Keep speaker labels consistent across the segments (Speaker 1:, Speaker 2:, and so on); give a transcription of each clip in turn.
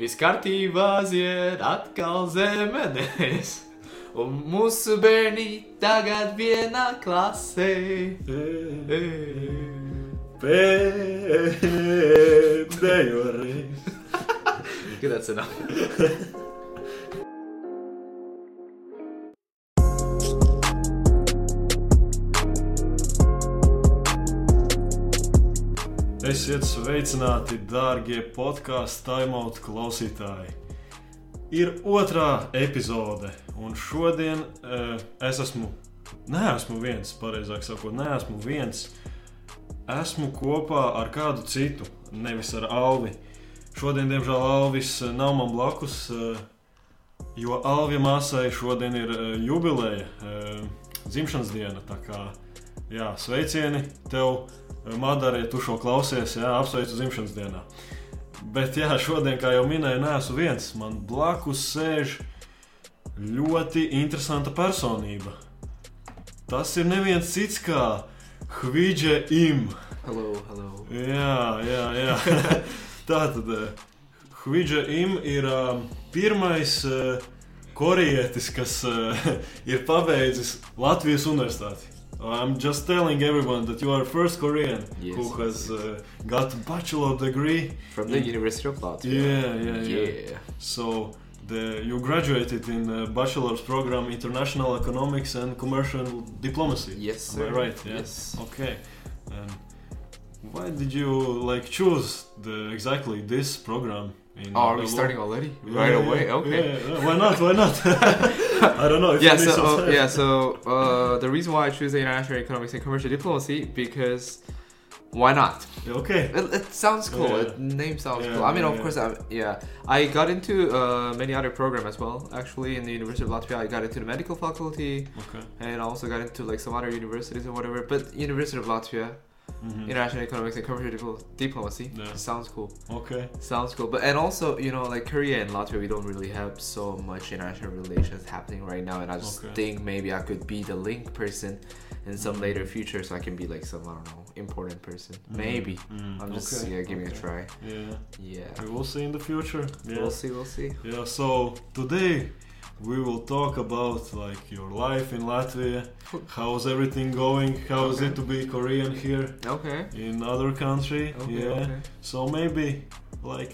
Speaker 1: Viss kārtībā zied atkal zemenes, un mūsu bērni tagad vienā klasē.
Speaker 2: E. Pēdējo reizi.
Speaker 1: Kad atcenā?
Speaker 2: Esiet sveicināti, dārgie podkāstu timeout klausītāji. Ir otrā epizode, un šodien uh, es esmu. Nē, esmu viens, pareizāk sakot, nē, esmu viens. Esmu kopā ar kādu citu, nevis ar Alvi. Šodien, diemžēl, Alvis eh, nav man blakus, eh, jo Alvija māsai šodien ir eh, jubileja, eh, dzimšanas diena. Tā kā jā, sveicieni tev, eh, Madara, ja tu šo klausies, jā, apsveicu dzimšanas dienā. Bet jā, šodien, kā jau minēju, neesmu viens. Man blakus sēž ļoti interesanta personība. Tas ir neviens cits kā Hvīdža Im.
Speaker 1: Hello, hello.
Speaker 2: Jā, jā, jā. tā tad Hvīdža Im ir ā, pirmais ā, korietis, kas ā, ir pabeidzis Latvijas universitāti. Oh, I'm just telling everyone that you are first Korean
Speaker 1: Yes,
Speaker 2: who
Speaker 1: yes,
Speaker 2: has uh, got a bachelor degree.
Speaker 1: From the University of Latvia.
Speaker 2: Yeah, yeah, yeah.
Speaker 1: yeah.
Speaker 2: So the, you graduated in a bachelor's program international economics and commercial diplomacy.
Speaker 1: Yes,
Speaker 2: Am I
Speaker 1: sir.
Speaker 2: right? Yeah.
Speaker 1: Yes.
Speaker 2: Okay. And why did you like choose the exactly this program? In
Speaker 1: Oh, are we
Speaker 2: Elo-
Speaker 1: starting already?
Speaker 2: Yeah,
Speaker 1: Right
Speaker 2: yeah,
Speaker 1: away?
Speaker 2: yeah,
Speaker 1: Okay.
Speaker 2: yeah, yeah. Why not? Why not? I don't know. If
Speaker 1: yeah,
Speaker 2: you need
Speaker 1: so,
Speaker 2: some
Speaker 1: uh,
Speaker 2: time.
Speaker 1: yeah, so uh, the reason why I choose the international economics and commercial diplomacy because why not?
Speaker 2: Okay.
Speaker 1: It, it sounds cool.
Speaker 2: Yeah.
Speaker 1: It name sounds
Speaker 2: Yeah,
Speaker 1: cool. I mean,
Speaker 2: yeah,
Speaker 1: of
Speaker 2: yeah.
Speaker 1: course, I, yeah. I got into uh, many other program as well. Actually, in the University of Latvia, I got into the medical faculty,
Speaker 2: Okay.
Speaker 1: and I also got into like some other universities or whatever. But University of Latvia,
Speaker 2: Mhm.
Speaker 1: international economics and commercial Dipl- diplomacy,
Speaker 2: Yeah.
Speaker 1: sounds cool.
Speaker 2: Okay.
Speaker 1: Sounds cool. But and also, you know, like Korea and Latvia, we don't really have so much international relations happening right now, and I just
Speaker 2: Okay.
Speaker 1: think maybe I could be the link person in some later future, so I can be like some I don't know important person.
Speaker 2: Mhm.
Speaker 1: Maybe
Speaker 2: Mm,
Speaker 1: I'm just
Speaker 2: okay,
Speaker 1: yeah giving
Speaker 2: okay.
Speaker 1: a try.
Speaker 2: Yeah.
Speaker 1: Yeah.
Speaker 2: We will see in the future. Yeah.
Speaker 1: We'll see, we'll see.
Speaker 2: Yeah, so today we will talk about like your life in Latvia. How's everything going? How is
Speaker 1: Okay.
Speaker 2: it to be Korean here
Speaker 1: Okay.
Speaker 2: in other country?
Speaker 1: Okay,
Speaker 2: yeah.
Speaker 1: okay.
Speaker 2: So maybe like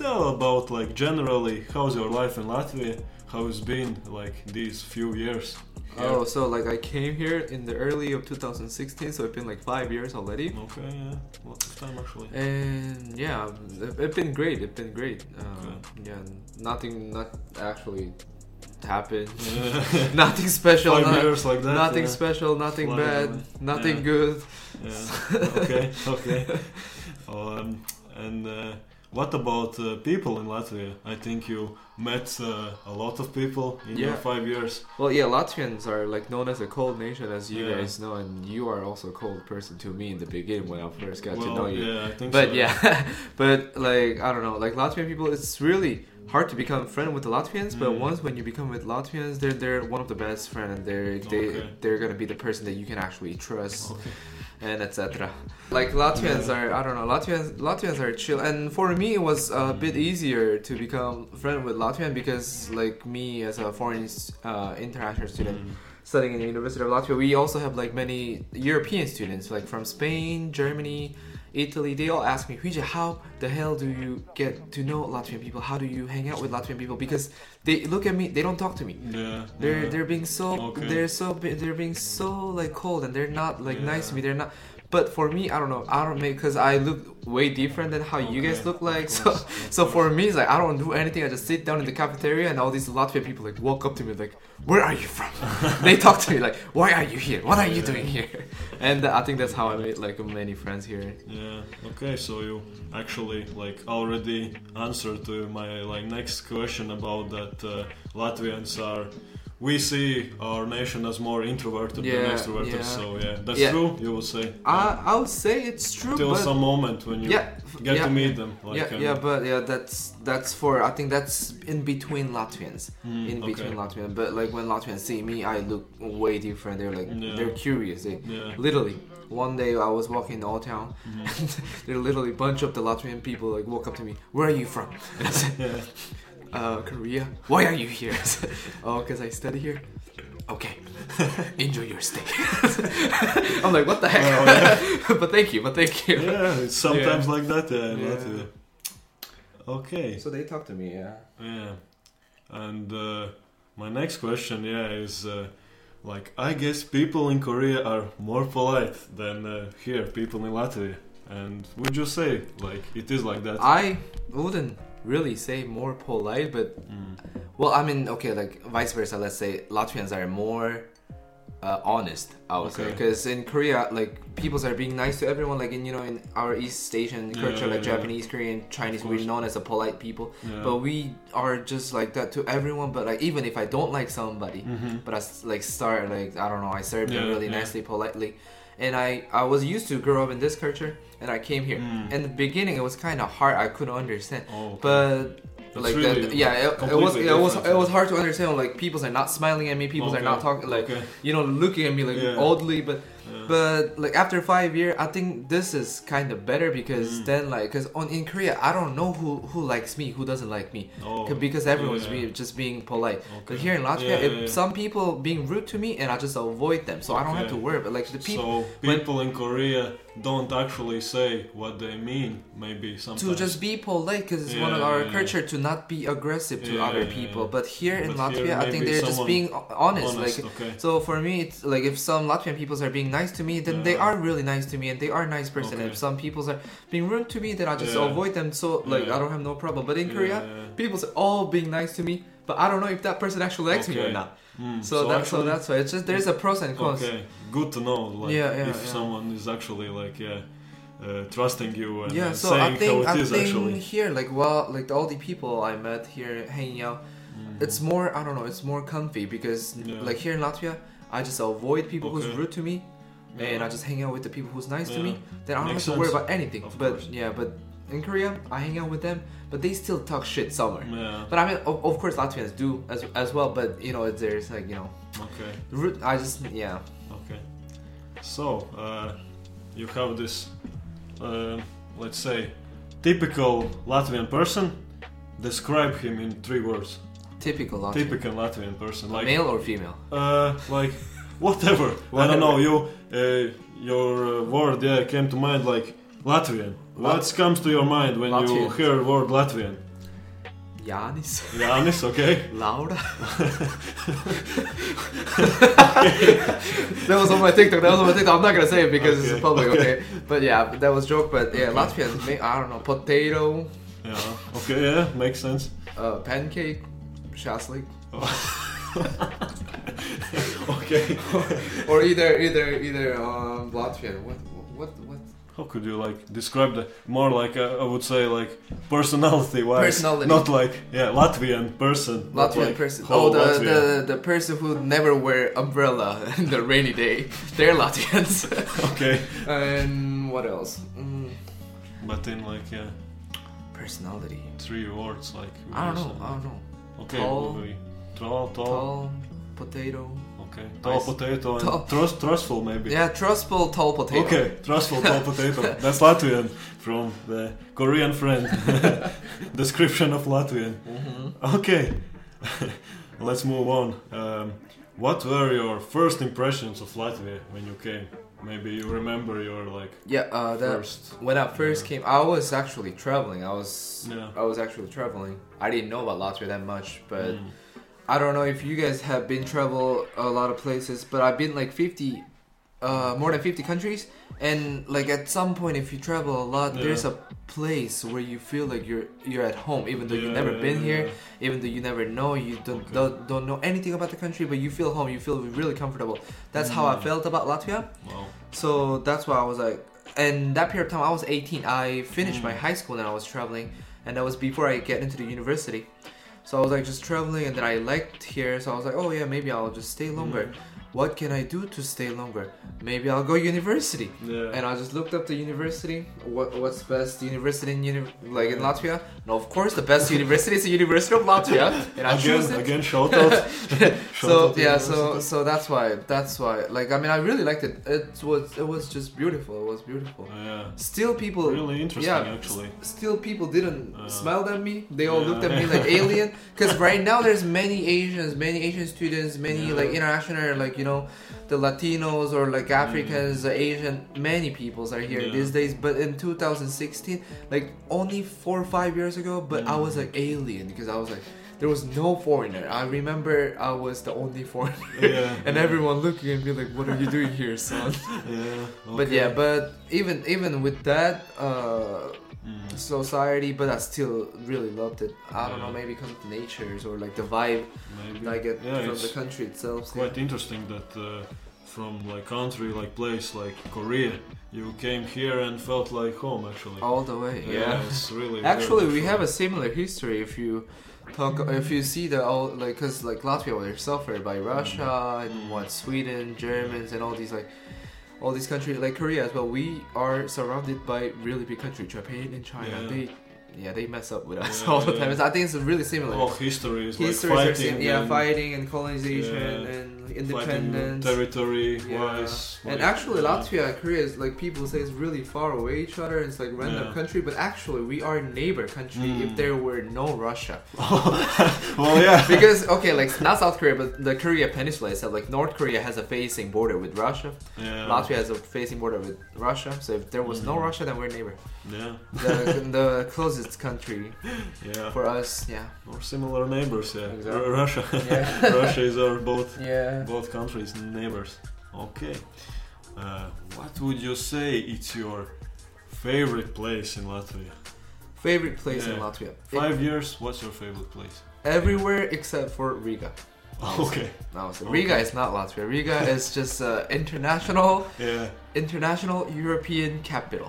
Speaker 2: tell about like generally how's your life in Latvia? How it's been like these few years? here?
Speaker 1: Oh, so like I came here in the early of 2016, so it's been like five years already.
Speaker 2: Okay, yeah. Lots of time actually.
Speaker 1: And yeah, it- it's been great. It's been great. Um,
Speaker 2: Okay.
Speaker 1: yeah, nothing, not actually happened.
Speaker 2: Yeah.
Speaker 1: nothing special.
Speaker 2: Five
Speaker 1: no-
Speaker 2: years like that.
Speaker 1: nothing
Speaker 2: yeah.
Speaker 1: special. Nothing
Speaker 2: Flying
Speaker 1: bad.
Speaker 2: away.
Speaker 1: Nothing
Speaker 2: Yeah.
Speaker 1: good.
Speaker 2: Yeah. okay, okay. Um, and uh, what about uh, people in Latvia? I think you met uh, a lot of people in your
Speaker 1: Yeah.
Speaker 2: five years.
Speaker 1: Well, yeah, Latvians are like known as a cold nation, as you
Speaker 2: Yeah.
Speaker 1: guys know, and you are also a cold person to me in the beginning when I first got
Speaker 2: well,
Speaker 1: to know you.
Speaker 2: yeah, I think
Speaker 1: But
Speaker 2: so.
Speaker 1: yeah, but like I don't know, like Latvian people, it's really hard to become friend with the Latvians. But
Speaker 2: Mm.
Speaker 1: once when you become with Latvians, they're they're one of the best friend, and they're they
Speaker 2: Okay.
Speaker 1: they're gonna be the person that you can actually trust,
Speaker 2: Okay.
Speaker 1: and etc. Like Latvians
Speaker 2: Yeah.
Speaker 1: are I don't know, Latvians Latvians are chill, and for me it was a
Speaker 2: Mm.
Speaker 1: bit easier to become friend with Latvian because like me as a foreign uh, international student
Speaker 2: Mm.
Speaker 1: studying in the University of Latvia, we also have like many European students, like from Spain, Germany, Italy. They all ask me, Huija, how the hell do you get to know Latvian people? How do you hang out with Latvian people? Because they look at me, they don't talk to me.
Speaker 2: Yeah.
Speaker 1: They're
Speaker 2: yeah.
Speaker 1: they're being so
Speaker 2: Okay.
Speaker 1: they're so be- they're being so like cold and they're not like nice to
Speaker 2: Yeah.
Speaker 1: me. They're not. But for me, I don't know. I don't make because I look way different than how you guys
Speaker 2: Okay,
Speaker 1: look
Speaker 2: of
Speaker 1: like. So
Speaker 2: course, of
Speaker 1: so
Speaker 2: course.
Speaker 1: for me, it's like I don't do anything. I just sit down in the cafeteria, and all these Latvian people like walk up to me like, "Where are you from?" they talk to me like, "Why are you here? What are you
Speaker 2: Yeah.
Speaker 1: doing here?" And uh, I think that's how I made like many friends here.
Speaker 2: Yeah. Okay. So you actually like already answered to my like next question about that uh, Latvians are we see our nation as more introverted
Speaker 1: Yeah,
Speaker 2: than extroverted.
Speaker 1: yeah.
Speaker 2: So yeah, that's
Speaker 1: Yeah.
Speaker 2: true. You would say
Speaker 1: I I would say it's true,
Speaker 2: till
Speaker 1: but
Speaker 2: some moment when you
Speaker 1: yeah, f-
Speaker 2: get
Speaker 1: yeah,
Speaker 2: to meet them. Like,
Speaker 1: yeah,
Speaker 2: um,
Speaker 1: yeah, but yeah, that's that's for I think that's in between Latvians,
Speaker 2: mm,
Speaker 1: in between
Speaker 2: okay.
Speaker 1: Latvians. But like when Latvians see me, I look way different. They're like
Speaker 2: Yeah.
Speaker 1: they're curious. They
Speaker 2: Yeah.
Speaker 1: literally one day I was walking in the old town,
Speaker 2: Mhm.
Speaker 1: and there literally a bunch of the Latvian people like walk up to me. Where are you from? And I said,
Speaker 2: yeah.
Speaker 1: uh, Korea. Why are you here? I said, oh, because I study here. Okay, enjoy your stay. I'm like, what the heck?
Speaker 2: Oh,
Speaker 1: but thank you, but thank you.
Speaker 2: Yeah, it's sometimes like that. Yeah, in
Speaker 1: Yeah.
Speaker 2: Latvia. Okay.
Speaker 1: So they talk to me, yeah.
Speaker 2: Yeah. And uh, my next question, yeah, is uh, like I guess people in Korea are more polite than uh, here people in Latvia. And would you say like it is like that?
Speaker 1: I wouldn't really say more polite, but
Speaker 2: Mm.
Speaker 1: well, I mean, okay, like vice versa. Let's say Latvians are more uh, honest. I would say
Speaker 2: Okay.
Speaker 1: because in Korea, like peoples are being nice to everyone. Like in you know in our East Asian
Speaker 2: Yeah,
Speaker 1: culture, like
Speaker 2: yeah, yeah.
Speaker 1: Japanese, Korean, Chinese,
Speaker 2: Of
Speaker 1: we're
Speaker 2: course.
Speaker 1: known as a polite people.
Speaker 2: Yeah.
Speaker 1: But we are just like that to everyone. But like even if I don't like somebody,
Speaker 2: Mhm.
Speaker 1: but I s- like start like I don't know. I served them
Speaker 2: Yeah,
Speaker 1: really
Speaker 2: yeah.
Speaker 1: nicely, politely, and I I was used to grow up in this culture, and I came here.
Speaker 2: Mm.
Speaker 1: In the beginning, it was kind of hard. I couldn't understand,
Speaker 2: Oh, okay.
Speaker 1: but
Speaker 2: It's
Speaker 1: like
Speaker 2: really
Speaker 1: that, yeah, it, it was
Speaker 2: completely
Speaker 1: it was
Speaker 2: different.
Speaker 1: it was hard to understand. Like people are not smiling at me. People are
Speaker 2: Okay,
Speaker 1: not talking like
Speaker 2: okay,
Speaker 1: you know looking at me like
Speaker 2: Yeah.
Speaker 1: oddly, but
Speaker 2: yeah.
Speaker 1: but like after five year, I think this is kind of better because
Speaker 2: Mm.
Speaker 1: then like because on in Korea, I don't know who who likes me, who doesn't like me,
Speaker 2: Oh,
Speaker 1: C- because everyone's be,
Speaker 2: yeah.
Speaker 1: just being polite.
Speaker 2: okay.
Speaker 1: But here in Latvia,
Speaker 2: Yeah,
Speaker 1: if
Speaker 2: yeah, yeah.
Speaker 1: some people being rude to me, and I just avoid them, so I don't have to
Speaker 2: Okay.
Speaker 1: worry. But like the people.
Speaker 2: so
Speaker 1: when-
Speaker 2: people in Korea don't actually say what they mean. Maybe sometimes
Speaker 1: to just be polite because it's one of
Speaker 2: Yeah,
Speaker 1: our
Speaker 2: yeah, yeah.
Speaker 1: culture to not be aggressive to
Speaker 2: Yeah,
Speaker 1: other
Speaker 2: yeah,
Speaker 1: people
Speaker 2: yeah.
Speaker 1: but here in
Speaker 2: But
Speaker 1: latvia
Speaker 2: here
Speaker 1: i think
Speaker 2: maybe
Speaker 1: they're just
Speaker 2: someone-
Speaker 1: being ho- honest,
Speaker 2: honest
Speaker 1: like
Speaker 2: okay.
Speaker 1: so for me it's like if some latvian peoples are being nice to me then they
Speaker 2: Yeah.
Speaker 1: are really nice to me and they are nice person
Speaker 2: Okay.
Speaker 1: if some peoples are being rude to me then i just
Speaker 2: Yeah.
Speaker 1: avoid them so like
Speaker 2: Yeah.
Speaker 1: i don't have no problem but in korea
Speaker 2: Yeah,
Speaker 1: people's are all being nice to me but i don't know if that person actually likes me or
Speaker 2: Okay.
Speaker 1: not
Speaker 2: yeah. Mm,
Speaker 1: so, that's so
Speaker 2: actually-
Speaker 1: that's why it's just there's a pros and cons
Speaker 2: Okay, good to know. Like,
Speaker 1: Yeah, yeah,
Speaker 2: if
Speaker 1: yeah.
Speaker 2: someone is actually like, yeah, uh, trusting you and
Speaker 1: yeah
Speaker 2: uh,
Speaker 1: so
Speaker 2: saying
Speaker 1: i think
Speaker 2: how
Speaker 1: i
Speaker 2: it is
Speaker 1: think
Speaker 2: actually.
Speaker 1: here like well like all the people i met here hanging out
Speaker 2: Mm.
Speaker 1: it's more I don't know, it's more comfy because
Speaker 2: Yeah.
Speaker 1: like here in Latvia, I just avoid people who's
Speaker 2: Okay.
Speaker 1: rude to me
Speaker 2: Yeah.
Speaker 1: and I just hang out with the people who's nice to me. Then I don't
Speaker 2: Makes
Speaker 1: have to worry
Speaker 2: sense.
Speaker 1: about anything.
Speaker 2: Of
Speaker 1: but
Speaker 2: course.
Speaker 1: yeah, but in Korea, I hang out with them, but they still talk shit somewhere.
Speaker 2: Yeah.
Speaker 1: But I mean, of, of course, Latvians do as as well. But you know, there's like you know,
Speaker 2: Okay.
Speaker 1: rude. I just yeah.
Speaker 2: Okay. So uh, you have this, uh, let's say, typical Latvian person. Describe him in three words.
Speaker 1: Typical Latvian.
Speaker 2: Typical Latvian person, like
Speaker 1: Male or female?
Speaker 2: uh, like whatever. I
Speaker 1: Whatever.
Speaker 2: don't know. You, uh, your uh, word, yeah, came to mind like Latvian.
Speaker 1: Lat-
Speaker 2: What comes to your mind when you
Speaker 1: Latvian.
Speaker 2: hear word Latvian?
Speaker 1: Yanis?
Speaker 2: Janis, okay.
Speaker 1: Laura? that was on my TikTok. That was on my TikTok. I'm not gonna say it because it's
Speaker 2: Okay,
Speaker 1: public, okay.
Speaker 2: okay.
Speaker 1: But yeah, that was joke. But yeah,
Speaker 2: Okay.
Speaker 1: Latvian. may- I don't know. Potato,
Speaker 2: Yeah, okay, yeah, makes sense.
Speaker 1: uh, pancake, shaslik,
Speaker 2: Okay.
Speaker 1: or either either either um, Latvian. What what what?
Speaker 2: How could you like describe the more like uh, I would say like personality wise,
Speaker 1: Personality.
Speaker 2: not like yeah Latvian person, not
Speaker 1: Latvian
Speaker 2: like
Speaker 1: person.
Speaker 2: whole
Speaker 1: Oh, the,
Speaker 2: Latvian.
Speaker 1: the the person who never wear umbrella in the rainy day. They're Latvians.
Speaker 2: okay,
Speaker 1: and what else? Mm,
Speaker 2: but in like yeah
Speaker 1: personality.
Speaker 2: three words like
Speaker 1: I don't know. I don't know.
Speaker 2: Okay,
Speaker 1: Tall.
Speaker 2: will be tall, tall,
Speaker 1: Tall potato.
Speaker 2: okay, tall
Speaker 1: Nice.
Speaker 2: potato, and
Speaker 1: Tall.
Speaker 2: Trust, trustful maybe.
Speaker 1: Yeah, trustful tall potato.
Speaker 2: Okay, trustful tall potato. That's Latvian from the Korean friend. Description of Latvian.
Speaker 1: hmm
Speaker 2: Okay, let's move on. Um, what were your first impressions of Latvia when you came? Maybe you remember your like
Speaker 1: Yeah, uh, that
Speaker 2: first.
Speaker 1: when I first came, I was actually traveling. I was
Speaker 2: Yeah.
Speaker 1: I was actually traveling. I didn't know about Latvia that much, but
Speaker 2: Mm.
Speaker 1: I don't know if you guys have been travel a lot of places, but I've been like 50 uh, more than 50 countries and like at some point if you travel a lot
Speaker 2: Yeah.
Speaker 1: there's a place where you feel like you're you're at home even though you've
Speaker 2: Yeah,
Speaker 1: never
Speaker 2: yeah,
Speaker 1: been here
Speaker 2: yeah.
Speaker 1: even though you never know you don't,
Speaker 2: Okay.
Speaker 1: don't don't know anything about the country but you feel home you feel really comfortable that's how i
Speaker 2: Mm.
Speaker 1: felt about latvia
Speaker 2: Wow.
Speaker 1: so that's why I was like, and that period of time I was 18. I finished
Speaker 2: Mm.
Speaker 1: my high school and I was traveling, and that was before I get into the university. So I was like just traveling, and then I liked here. So I was like, oh yeah, maybe I'll just
Speaker 2: Mm.
Speaker 1: stay longer. What can I do to stay longer? Maybe I'll go university.
Speaker 2: Yeah.
Speaker 1: And I just looked up the university. What what's best university in uni- like in Latvia? No, of course the best university is the University of Latvia, and I chose
Speaker 2: again,
Speaker 1: it.
Speaker 2: again, shout out. Shout
Speaker 1: So
Speaker 2: out to
Speaker 1: yeah, so
Speaker 2: university.
Speaker 1: so that's why that's why. Like I mean, I really liked it. It was it was just beautiful. It was beautiful.
Speaker 2: Yeah.
Speaker 1: Still, people
Speaker 2: Really interesting,
Speaker 1: yeah,
Speaker 2: actually.
Speaker 1: still people didn't
Speaker 2: Uh,
Speaker 1: smile at me they all
Speaker 2: yeah.
Speaker 1: looked at me like alien because right now there's many asians many asian students many
Speaker 2: Yeah.
Speaker 1: like international like you know the latinos or like africans asian many peoples are here
Speaker 2: Mm. Yeah.
Speaker 1: these days but in 2016 like only four or five years ago but i
Speaker 2: Mm.
Speaker 1: was like alien because i was like there was no foreigner i remember i was the only foreigner
Speaker 2: Yeah.
Speaker 1: and everyone looking at me like what are you doing here son
Speaker 2: Yeah.
Speaker 1: but
Speaker 2: okay.
Speaker 1: yeah but even even with that uh
Speaker 2: Mm.
Speaker 1: society, but I still really loved it. I don't know,
Speaker 2: Yeah.
Speaker 1: maybe because of the natures or like the vibe
Speaker 2: Maybe.
Speaker 1: that I get
Speaker 2: yeah,
Speaker 1: from
Speaker 2: it's
Speaker 1: the country itself. yeah.
Speaker 2: quite interesting that uh, from like country, like place, like Korea, you came here and felt like home actually.
Speaker 1: All the way, Oh, yeah.
Speaker 2: it's really. weird,
Speaker 1: Actually, we have a similar history. If you talk, if you see the all like, cause like Latvia was suffered by Russia and what Sweden, Germans, and all these like. All these countries, like Korea as well, we are surrounded by really big countries, Japan and China.
Speaker 2: Yeah.
Speaker 1: They, yeah, they mess up with us
Speaker 2: Yeah,
Speaker 1: all the
Speaker 2: yeah.
Speaker 1: time. It's- I think it's really similar.
Speaker 2: Oh, history is
Speaker 1: histories
Speaker 2: like
Speaker 1: are
Speaker 2: fighting.
Speaker 1: same, yeah,
Speaker 2: and
Speaker 1: fighting and colonization
Speaker 2: yeah,
Speaker 1: and
Speaker 2: fighting
Speaker 1: independence.
Speaker 2: territory
Speaker 1: Yeah.
Speaker 2: wise.
Speaker 1: And
Speaker 2: like,
Speaker 1: actually,
Speaker 2: yeah.
Speaker 1: Latvia and Korea is like people say it's really far away each other. It's like random
Speaker 2: Yeah.
Speaker 1: country, but actually, we are neighbor country.
Speaker 2: Mm.
Speaker 1: If there were no Russia,
Speaker 2: well, yeah.
Speaker 1: because okay, like not South Korea, but the Korea Peninsula itself, like North Korea has a facing border with Russia.
Speaker 2: yeah.
Speaker 1: Latvia has a facing border with Russia. So if there was no
Speaker 2: Mhm.
Speaker 1: Russia, then we're neighbor.
Speaker 2: Yeah.
Speaker 1: The, the closest country
Speaker 2: Yeah.
Speaker 1: for us, yeah,
Speaker 2: Or similar neighbors, yeah.
Speaker 1: Exactly.
Speaker 2: R- Russia.
Speaker 1: yeah,
Speaker 2: Russia is our both
Speaker 1: yeah.
Speaker 2: both countries neighbors. Okay. Uh, what would you say it's your favorite place in Latvia?
Speaker 1: Favorite place in
Speaker 2: Yeah.
Speaker 1: Latvia?
Speaker 2: Five years. What's your favorite place?
Speaker 1: Everywhere except for Riga.
Speaker 2: Okay.
Speaker 1: No, so
Speaker 2: Okay.
Speaker 1: Riga is not Latvia. Riga is just uh, international,
Speaker 2: Yeah.
Speaker 1: international European capital.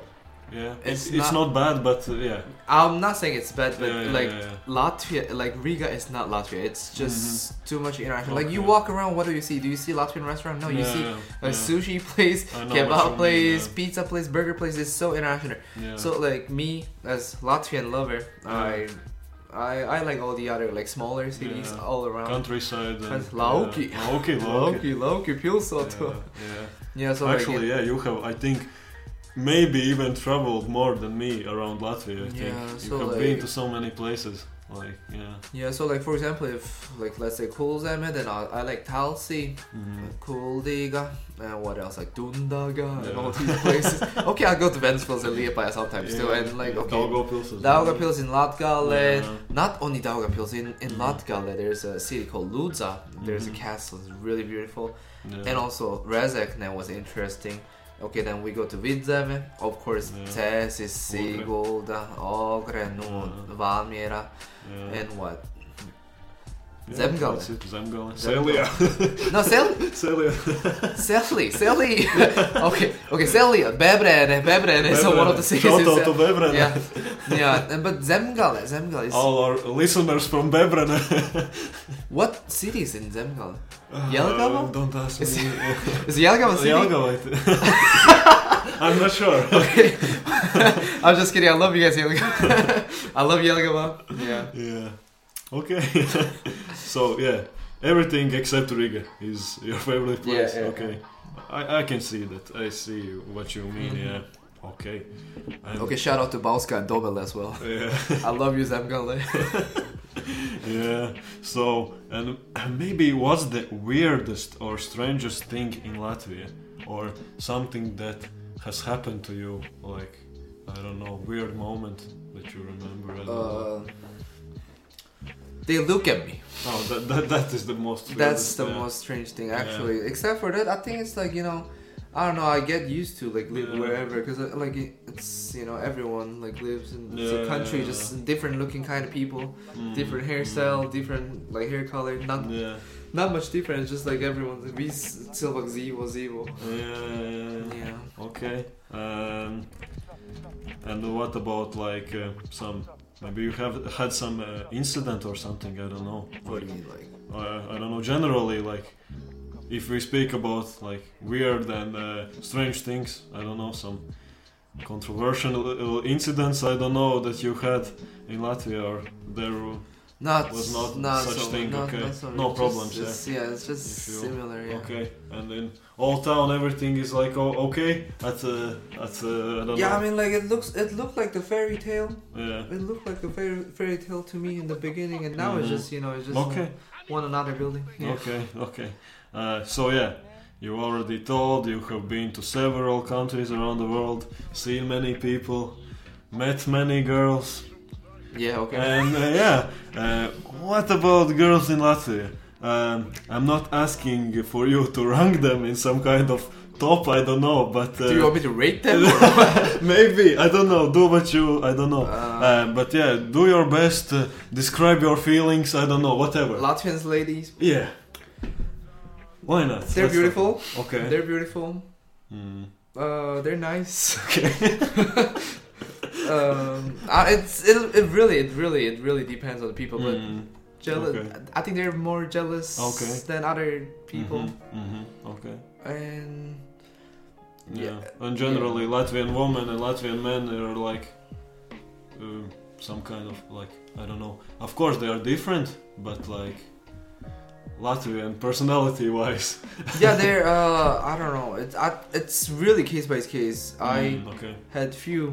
Speaker 2: Yeah.
Speaker 1: It's
Speaker 2: It's, it's not, bad, but uh, yeah.
Speaker 1: I'm not saying it's bad, but
Speaker 2: Yeah, yeah,
Speaker 1: like
Speaker 2: yeah, yeah.
Speaker 1: Latvia, like Riga is not Latvia. It's just too much international. Like you
Speaker 2: Okay.
Speaker 1: walk around, what do you see? Do you see Latvian restaurant? No, you
Speaker 2: yeah,
Speaker 1: see
Speaker 2: yeah,
Speaker 1: a
Speaker 2: yeah.
Speaker 1: sushi place,
Speaker 2: I know what you
Speaker 1: kebab
Speaker 2: mean,
Speaker 1: place,
Speaker 2: yeah.
Speaker 1: pizza place, burger place. It's so international.
Speaker 2: Yeah.
Speaker 1: So like me as Latvian lover, I, I I like all the other like smaller cities
Speaker 2: Yeah.
Speaker 1: all around.
Speaker 2: countryside. And,
Speaker 1: Country- Lauki.
Speaker 2: Yeah. Lauki, Lauki.
Speaker 1: Lauki, Lauki, Pilsoto.
Speaker 2: Yeah, yeah.
Speaker 1: Yeah, so like,
Speaker 2: Actually, yeah, you have, I think, maybe even traveled more than me around Latvia. I think
Speaker 1: Yeah,
Speaker 2: you
Speaker 1: so,
Speaker 2: have been
Speaker 1: like-
Speaker 2: to so many places. Like, yeah,
Speaker 1: Yeah, so like for example, if like let's say Kulzeme, then uh, I, I like Talsi,
Speaker 2: Mhm.
Speaker 1: Kuldiga, and what else like Dundaga and
Speaker 2: Yeah.
Speaker 1: all these places. okay, I go to Ventspils and Liepāja sometimes too, and like
Speaker 2: yeah,
Speaker 1: okay,
Speaker 2: Daugavpils as well.
Speaker 1: Daugavpils in Latgale.
Speaker 2: Yeah.
Speaker 1: Not only Daugavpils in in
Speaker 2: Mhm.
Speaker 1: Latgale, there's a city called Ludza. There's a
Speaker 2: Mhm.
Speaker 1: castle, it's really beautiful,
Speaker 2: Yeah.
Speaker 1: and also Rezekne was interesting. Okay, then we go to Vidzeme, of course,
Speaker 2: Yeah.
Speaker 1: Tēsis,
Speaker 2: Ogre.
Speaker 1: Sigulda, Ogre, Nūn,
Speaker 2: Yeah.
Speaker 1: Valmiera,
Speaker 2: yeah.
Speaker 1: and what?
Speaker 2: yeah,
Speaker 1: Zemgale.
Speaker 2: that's it, Zemgale.
Speaker 1: Zemgale.
Speaker 2: Celia.
Speaker 1: No, Sel
Speaker 2: Celia.
Speaker 1: Selly, Selly. okay, okay, Selly, Bebrene, Bebrene is one of the cities.
Speaker 2: Shout
Speaker 1: in
Speaker 2: out to Oh.
Speaker 1: Sel-
Speaker 2: Bebrene.
Speaker 1: yeah, yeah, and- but Zemgale, Zemgale is
Speaker 2: All our listeners from Bebrene.
Speaker 1: what city is in Zemgale?
Speaker 2: Uh,
Speaker 1: Jelgava?
Speaker 2: don't ask me.
Speaker 1: Is- Is Jelgava city?
Speaker 2: Jelgava, I think. I'm not sure.
Speaker 1: Okay, I'm just kidding. I love you guys, Jelgava. I love Jelgava. Yeah,
Speaker 2: Yeah. Okay. so yeah, everything except Riga is your favorite
Speaker 1: Yeah,
Speaker 2: place.
Speaker 1: yeah,
Speaker 2: okay. I, I can see that. I see what you mean.
Speaker 1: Mhm.
Speaker 2: Yeah. Okay. And-
Speaker 1: Okay, shout out to Bauska and Dobel as well.
Speaker 2: Yeah.
Speaker 1: I love you, Zemgale.
Speaker 2: yeah. So and maybe what's the weirdest or strangest thing in Latvia, or something that has happened to you, like I don't know, weird moment that you remember. I don't know.
Speaker 1: Uh, they look at me.
Speaker 2: Oh, that, that that is the most.
Speaker 1: That's
Speaker 2: weirdest,
Speaker 1: the
Speaker 2: yeah.
Speaker 1: most strange thing,
Speaker 2: Yeah.
Speaker 1: actually. Except for that, I think it's like you know, I don't know. I get used to like live
Speaker 2: Yeah.
Speaker 1: wherever because like it- it's you know everyone like lives in it's a
Speaker 2: Yeah,
Speaker 1: country,
Speaker 2: yeah,
Speaker 1: just different looking kind of people,
Speaker 2: Mm,
Speaker 1: different hairstyle, different like hair color. Not
Speaker 2: Yeah.
Speaker 1: not much different. It's just like everyone's we s- cilvēki dzīvo dzīvo.
Speaker 2: Yeah.
Speaker 1: Yeah.
Speaker 2: Okay. Um, and what about like uh, some Maybe you have had some uh, incident or something. I don't know.
Speaker 1: What
Speaker 2: Like
Speaker 1: do you mean, like?
Speaker 2: uh, I don't know. Generally, like if we speak about like weird and uh, strange things, I don't know some controversial uh, incidents. I don't know that you had in Latvia or there.
Speaker 1: Not
Speaker 2: Was not such
Speaker 1: so,
Speaker 2: thing,
Speaker 1: Not,
Speaker 2: okay.
Speaker 1: not so,
Speaker 2: No
Speaker 1: just-
Speaker 2: problems,
Speaker 1: just- yeah. it's just
Speaker 2: If you-
Speaker 1: similar. Yeah.
Speaker 2: Okay, and in all town everything is like oh, okay at uh, at uh, I don't
Speaker 1: Yeah, I
Speaker 2: know.
Speaker 1: mean, like it looks, it looked like the fairy tale.
Speaker 2: yeah.
Speaker 1: It looked like a fairy, fairy tale to me in the beginning, and now it's
Speaker 2: Mhm.
Speaker 1: just, you know, it's just
Speaker 2: Okay,
Speaker 1: one another building. Yeah.
Speaker 2: okay, okay. Uh, so yeah, you already told you have been to several countries around the world, seen many people, met many girls,
Speaker 1: Yeah. Okay.
Speaker 2: and uh, yeah. Uh, what about girls in Latvia? Um, I'm not asking for you to rank them in some kind of top. I don't know, but uh,
Speaker 1: Do you want me to rate them? Or what?
Speaker 2: maybe I don't know. Do what you I don't know.
Speaker 1: Uh,
Speaker 2: Uh, but yeah, do your best. Uh, describe your feelings. I don't know, whatever.
Speaker 1: Latvians, ladies,
Speaker 2: yeah. Why not?
Speaker 1: they're
Speaker 2: Let's
Speaker 1: beautiful.
Speaker 2: talk. Okay.
Speaker 1: They're beautiful.
Speaker 2: Mm.
Speaker 1: Uh, they're nice.
Speaker 2: Okay.
Speaker 1: Um, uh, it's it, it really it really it really depends on the people, but
Speaker 2: Mm.
Speaker 1: jealous.
Speaker 2: okay.
Speaker 1: I think they're more jealous
Speaker 2: Okay.
Speaker 1: than other people,
Speaker 2: Mhm, mhm, Okay.
Speaker 1: and
Speaker 2: Yeah.
Speaker 1: Yeah,
Speaker 2: And generally, Latvian women and Latvian men are like um, some kind of like I don't know. Of course, they are different, but like Latvian personality-wise.
Speaker 1: yeah, they're uh, I don't know. It's I, it's really case by case. I
Speaker 2: Mm, okay.
Speaker 1: had few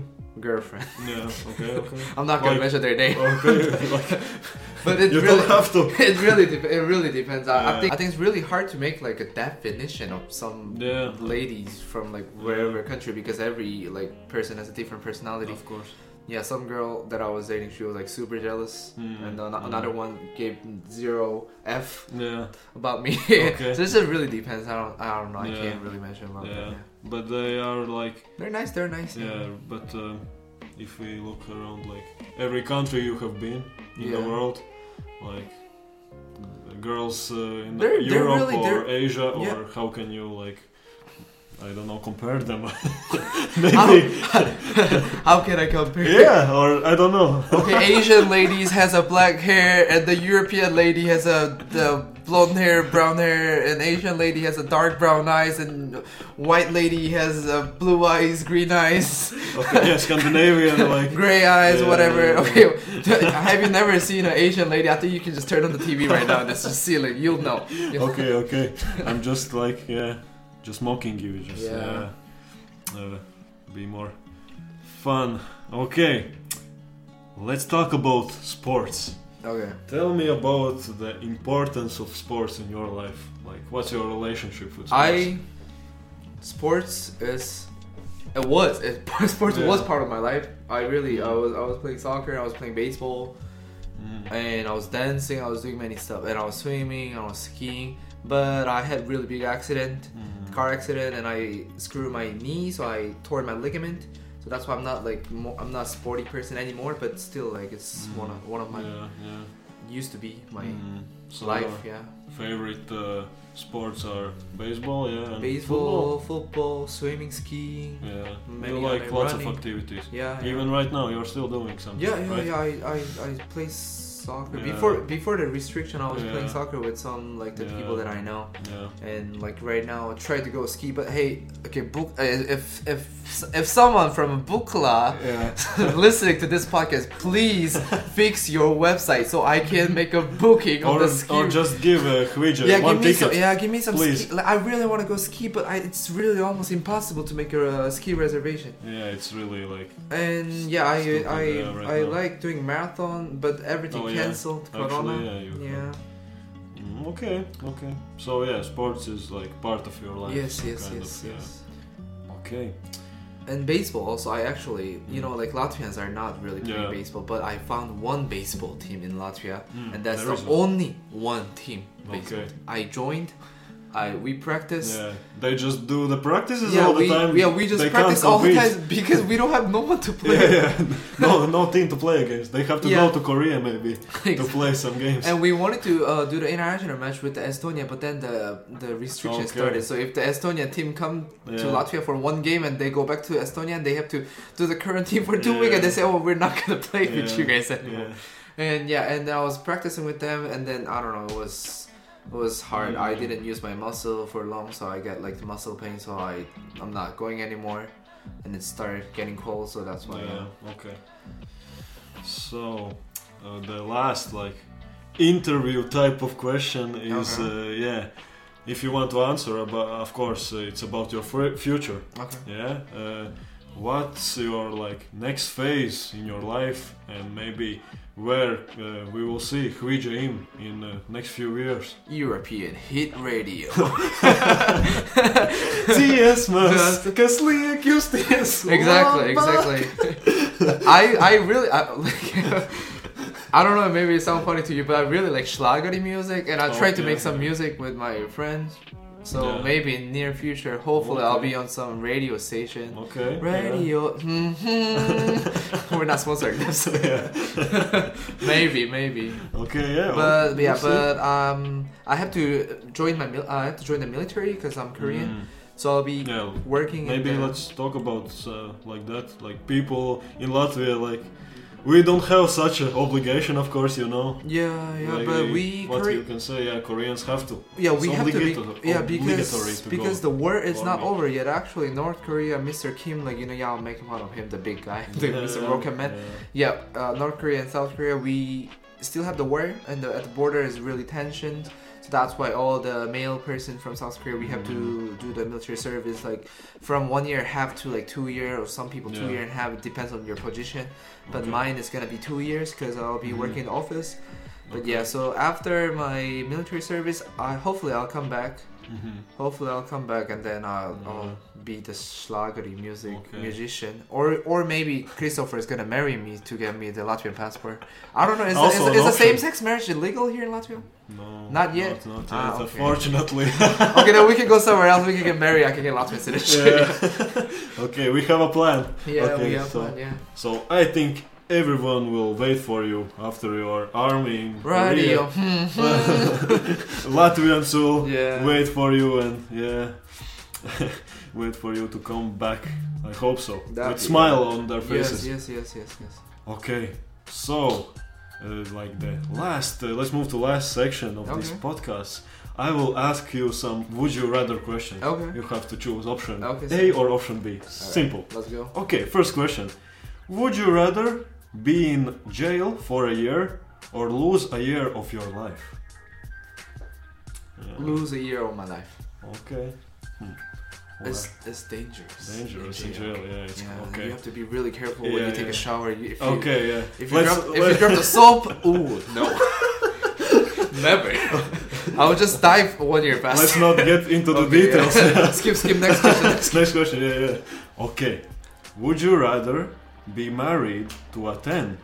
Speaker 1: girlfriends.
Speaker 2: Yeah. Okay. Okay.
Speaker 1: I'm not gonna
Speaker 2: Like-
Speaker 1: mention their name,
Speaker 2: okay. like,
Speaker 1: but it
Speaker 2: you
Speaker 1: really
Speaker 2: don't have to.
Speaker 1: it really dep it really depends. I, I
Speaker 2: Yeah.
Speaker 1: think I think it's really hard to make like a definition of some
Speaker 2: Yeah.
Speaker 1: ladies from like wherever country because every like person has a different personality.
Speaker 2: Of course.
Speaker 1: Yeah, some girl that I was dating, she was like super jealous,
Speaker 2: Mm-hmm.
Speaker 1: and an- another one gave zero f
Speaker 2: Mm, Yeah,
Speaker 1: about me.
Speaker 2: Okay.
Speaker 1: so it just really depends. I don't I don't know. I
Speaker 2: Yeah.
Speaker 1: can't really mention about that.
Speaker 2: Yeah.
Speaker 1: yeah.
Speaker 2: but they are like
Speaker 1: They're nice. They're nice.
Speaker 2: yeah. But um, if we look around, like every country you have been in the
Speaker 1: Yeah.
Speaker 2: world, like the girls uh, in
Speaker 1: They're- they're
Speaker 2: Europe
Speaker 1: really-
Speaker 2: or
Speaker 1: they're-
Speaker 2: Asia, or
Speaker 1: Yeah.
Speaker 2: how can you like? I don't know. Compare them,
Speaker 1: How,
Speaker 2: maybe.
Speaker 1: how can I compare?
Speaker 2: Yeah, or I don't know.
Speaker 1: Okay, Asian ladies has a black hair, and the European lady has a the blonde hair, brown hair, and Asian lady has a dark brown eyes, and white lady has uh, blue eyes, green eyes,
Speaker 2: Okay, yeah, Scandinavian, like
Speaker 1: gray eyes,
Speaker 2: Yeah,
Speaker 1: whatever.
Speaker 2: yeah,
Speaker 1: Okay, have you never seen an Asian lady? I think you can just turn on the TV right now and it's just ceiling. You'll know. You'll-
Speaker 2: okay, okay. I'm just like yeah, just mocking you. Just yeah,
Speaker 1: Yeah.
Speaker 2: uh, be more fun. Okay, let's talk about sports.
Speaker 1: Okay.
Speaker 2: Tell me about the importance of sports in your life. Like, what's your relationship with sports?
Speaker 1: I sports is it was it, sports
Speaker 2: Yeah.
Speaker 1: was part of my life. I really I was I was playing soccer, I was playing baseball,
Speaker 2: Mm,
Speaker 1: and I was dancing, I was doing many stuff, and I was swimming, I was skiing. But I had really big accident,
Speaker 2: mm,
Speaker 1: car accident, and I screwed my knee, so I tore my ligament. So that's why I'm not like mo- I'm not a sporty person anymore, but still like it's
Speaker 2: Mm.
Speaker 1: one of one of my
Speaker 2: yeah, yeah.
Speaker 1: used to be my
Speaker 2: mm. So
Speaker 1: life.
Speaker 2: your
Speaker 1: Yeah,
Speaker 2: favorite uh, sports are baseball, yeah, and
Speaker 1: baseball, football, swimming, skiing.
Speaker 2: football. Yeah,
Speaker 1: Many
Speaker 2: you like
Speaker 1: other
Speaker 2: lots
Speaker 1: running.
Speaker 2: of activities.
Speaker 1: Yeah, yeah.
Speaker 2: Even right now, you're still doing something.
Speaker 1: Yeah, yeah,
Speaker 2: right?
Speaker 1: yeah. I, I, I play soccer
Speaker 2: Yeah.
Speaker 1: before before the restriction. I was
Speaker 2: Yeah.
Speaker 1: playing soccer with some like the
Speaker 2: Yeah.
Speaker 1: people that I know,
Speaker 2: yeah.
Speaker 1: and like right now I try to go ski. But hey, okay, book. Uh, if if if someone from Bukla
Speaker 2: Yeah.
Speaker 1: listening to this podcast, please fix your website so I can make a booking on
Speaker 2: Or,
Speaker 1: the ski.
Speaker 2: or just give uh, Huija
Speaker 1: yeah,
Speaker 2: one
Speaker 1: give me
Speaker 2: ticket.
Speaker 1: some. Yeah, give me some.
Speaker 2: please.
Speaker 1: Ski. Like, I really want to go ski, but I, it's really almost impossible to make a uh, ski reservation.
Speaker 2: Yeah, it's really like
Speaker 1: And yeah, I
Speaker 2: Stupid,
Speaker 1: I
Speaker 2: yeah, uh, right
Speaker 1: I
Speaker 2: now.
Speaker 1: like doing marathon, but everything
Speaker 2: Oh, yeah.
Speaker 1: cancelled.
Speaker 2: actually uh,
Speaker 1: Corona.
Speaker 2: yeah. You
Speaker 1: Yeah.
Speaker 2: Mm, okay, okay. So yeah, sports is like part of your life.
Speaker 1: Yes,
Speaker 2: some
Speaker 1: yes,
Speaker 2: kind
Speaker 1: yes,
Speaker 2: of, yeah.
Speaker 1: yes.
Speaker 2: Okay.
Speaker 1: And baseball also. I actually, you
Speaker 2: Mm.
Speaker 1: know, like Latvians are not really playing
Speaker 2: Yeah.
Speaker 1: baseball, but I found one baseball team in Latvia,
Speaker 2: Mm,
Speaker 1: and that's
Speaker 2: there
Speaker 1: the
Speaker 2: is one.
Speaker 1: only one team. Baseball.
Speaker 2: Okay.
Speaker 1: I joined. I we practice.
Speaker 2: Yeah, they just do the practices
Speaker 1: Yeah,
Speaker 2: all the
Speaker 1: we,
Speaker 2: time.
Speaker 1: yeah, we just
Speaker 2: They can't
Speaker 1: practice all the
Speaker 2: compete.
Speaker 1: time because we don't have no one to play.
Speaker 2: Yeah, yeah. no, no team to play against. They have to
Speaker 1: Yeah.
Speaker 2: go to Korea maybe to play some games.
Speaker 1: And we wanted to uh, do the international match with the Estonia, but then the the restrictions
Speaker 2: Okay.
Speaker 1: started. So if the Estonia team come to
Speaker 2: Yeah.
Speaker 1: Latvia for one game and they go back to Estonia and they have to do the current team for two
Speaker 2: Yeah.
Speaker 1: weeks, and they say, "Oh, we're not gonna play with
Speaker 2: Yeah.
Speaker 1: you guys anymore."
Speaker 2: Yeah.
Speaker 1: And yeah, and I was practicing with them, and then I don't know, it was it was hard. I
Speaker 2: Mm.
Speaker 1: didn't use my muscle for long, so I got like muscle pain. So I I'm not going anymore, and it started getting cold. So that's why.
Speaker 2: yeah. Okay. So, uh, the last like interview type of question is
Speaker 1: Okay.
Speaker 2: uh, yeah, if you want to answer, about, of course, uh, it's about your fu- future.
Speaker 1: Okay.
Speaker 2: Yeah. Uh, what's your like next phase in your life, and maybe where uh, we will see Huija Im in uh, next few years?
Speaker 1: European hit radio.
Speaker 2: Ties mēs,
Speaker 1: Just-
Speaker 2: kas liek jūs ties?
Speaker 1: exactly
Speaker 2: labāk?
Speaker 1: exactly i i really i like i don't know maybe it sounds funny to you but i really like schlagery music and i try to
Speaker 2: Okay.
Speaker 1: make some music with my friends so
Speaker 2: Oh, Yeah.
Speaker 1: maybe in near future hopefully i'll
Speaker 2: Okay.
Speaker 1: be on some radio station
Speaker 2: Okay. Oh, yeah.
Speaker 1: radio mhm. we're not sponsored maybe maybe
Speaker 2: Okay, yeah.
Speaker 1: but yeah
Speaker 2: we'll see.
Speaker 1: but um i have to join my mil- uh, i have to join the military because i'm korean
Speaker 2: Mm,
Speaker 1: so i'll be
Speaker 2: yeah.
Speaker 1: working in
Speaker 2: Maybe
Speaker 1: the-
Speaker 2: let's talk about uh, like that, like people in Latvia, like we don't have such an obligation, of course, you know.
Speaker 1: yeah yeah
Speaker 2: Like,
Speaker 1: but
Speaker 2: uh,
Speaker 1: we
Speaker 2: what
Speaker 1: Kore-
Speaker 2: you can say, yeah, Koreans have to.
Speaker 1: Yeah, we
Speaker 2: It's
Speaker 1: have to be,
Speaker 2: obligato-
Speaker 1: yeah
Speaker 2: obligatory
Speaker 1: because
Speaker 2: to
Speaker 1: because
Speaker 2: go
Speaker 1: the war is
Speaker 2: for
Speaker 1: not
Speaker 2: me.
Speaker 1: over yet. Actually, North Korea, Mr. Kim, like you know, yeah, I'm making fun of him, the big guy, the Mr. Rocket Man. Yeah, uh, North Korea and South Korea, we still have the war, and the, at the border is really tensioned. So that's why all the male person from South Korea we have to
Speaker 2: Mm-hmm.
Speaker 1: do the military service like from one year half to like two year or some people two
Speaker 2: Yeah.
Speaker 1: year and half it depends on your position. But
Speaker 2: Okay.
Speaker 1: mine is gonna be two years because I'll be
Speaker 2: Mhm.
Speaker 1: working in the office. But yeah, so after my military service, I hopefully I'll come back.
Speaker 2: Mm-hmm.
Speaker 1: Hopefully I'll come back and then I'll,
Speaker 2: Yeah.
Speaker 1: I'll be the schlagery music
Speaker 2: Mm. Okay.
Speaker 1: musician, or or maybe Christopher is gonna marry me to get me the Latvian passport. I don't know. Is,
Speaker 2: Also
Speaker 1: is,
Speaker 2: an
Speaker 1: is the
Speaker 2: option.
Speaker 1: same sex marriage illegal here in Latvia?
Speaker 2: No.
Speaker 1: Not yet?
Speaker 2: Not, not
Speaker 1: Ah,
Speaker 2: yet,
Speaker 1: okay.
Speaker 2: unfortunately.
Speaker 1: okay, then we can go somewhere else. We can get married. I can get Latvian citizenship.
Speaker 2: Yeah. okay, we have a plan.
Speaker 1: Yeah, we
Speaker 2: Okay,
Speaker 1: have
Speaker 2: so-
Speaker 1: one. Yeah.
Speaker 2: So I think everyone will wait for you after your army in
Speaker 1: Radio.
Speaker 2: Korea. uh, Latvians will
Speaker 1: Yeah.
Speaker 2: wait for you and yeah, wait for you to come back. I hope so.
Speaker 1: That'd
Speaker 2: With
Speaker 1: be-
Speaker 2: smile on their
Speaker 1: yes,
Speaker 2: faces.
Speaker 1: yes, yes, yes, yes.
Speaker 2: Okay, so uh, like the last, uh, let's move to last section of this
Speaker 1: Okay.
Speaker 2: podcast. I will ask you some would you rather questions.
Speaker 1: Okay.
Speaker 2: You have to choose option
Speaker 1: Okay,
Speaker 2: A or option B. Simple.
Speaker 1: Let's go.
Speaker 2: Okay, first question. Would you rather be in jail for a year or lose a year of your life? Yeah,
Speaker 1: Lose a year of my life.
Speaker 2: Okay. Hmm.
Speaker 1: It's, it's dangerous.
Speaker 2: dangerous in jail, yeah. It's,
Speaker 1: Yeah,
Speaker 2: okay.
Speaker 1: you have to be really careful when
Speaker 2: Yeah,
Speaker 1: you take a
Speaker 2: yeah.
Speaker 1: shower. You- If you,
Speaker 2: Okay, yeah.
Speaker 1: If you,
Speaker 2: Let's-
Speaker 1: drop, if you drop the soap, ooh, no. Never. I would just die for one year past.
Speaker 2: Let's not get into the
Speaker 1: Okay, yeah.
Speaker 2: details.
Speaker 1: skip, skip, next question.
Speaker 2: Next question, yeah, yeah. Okay. Would you rather be married to a 10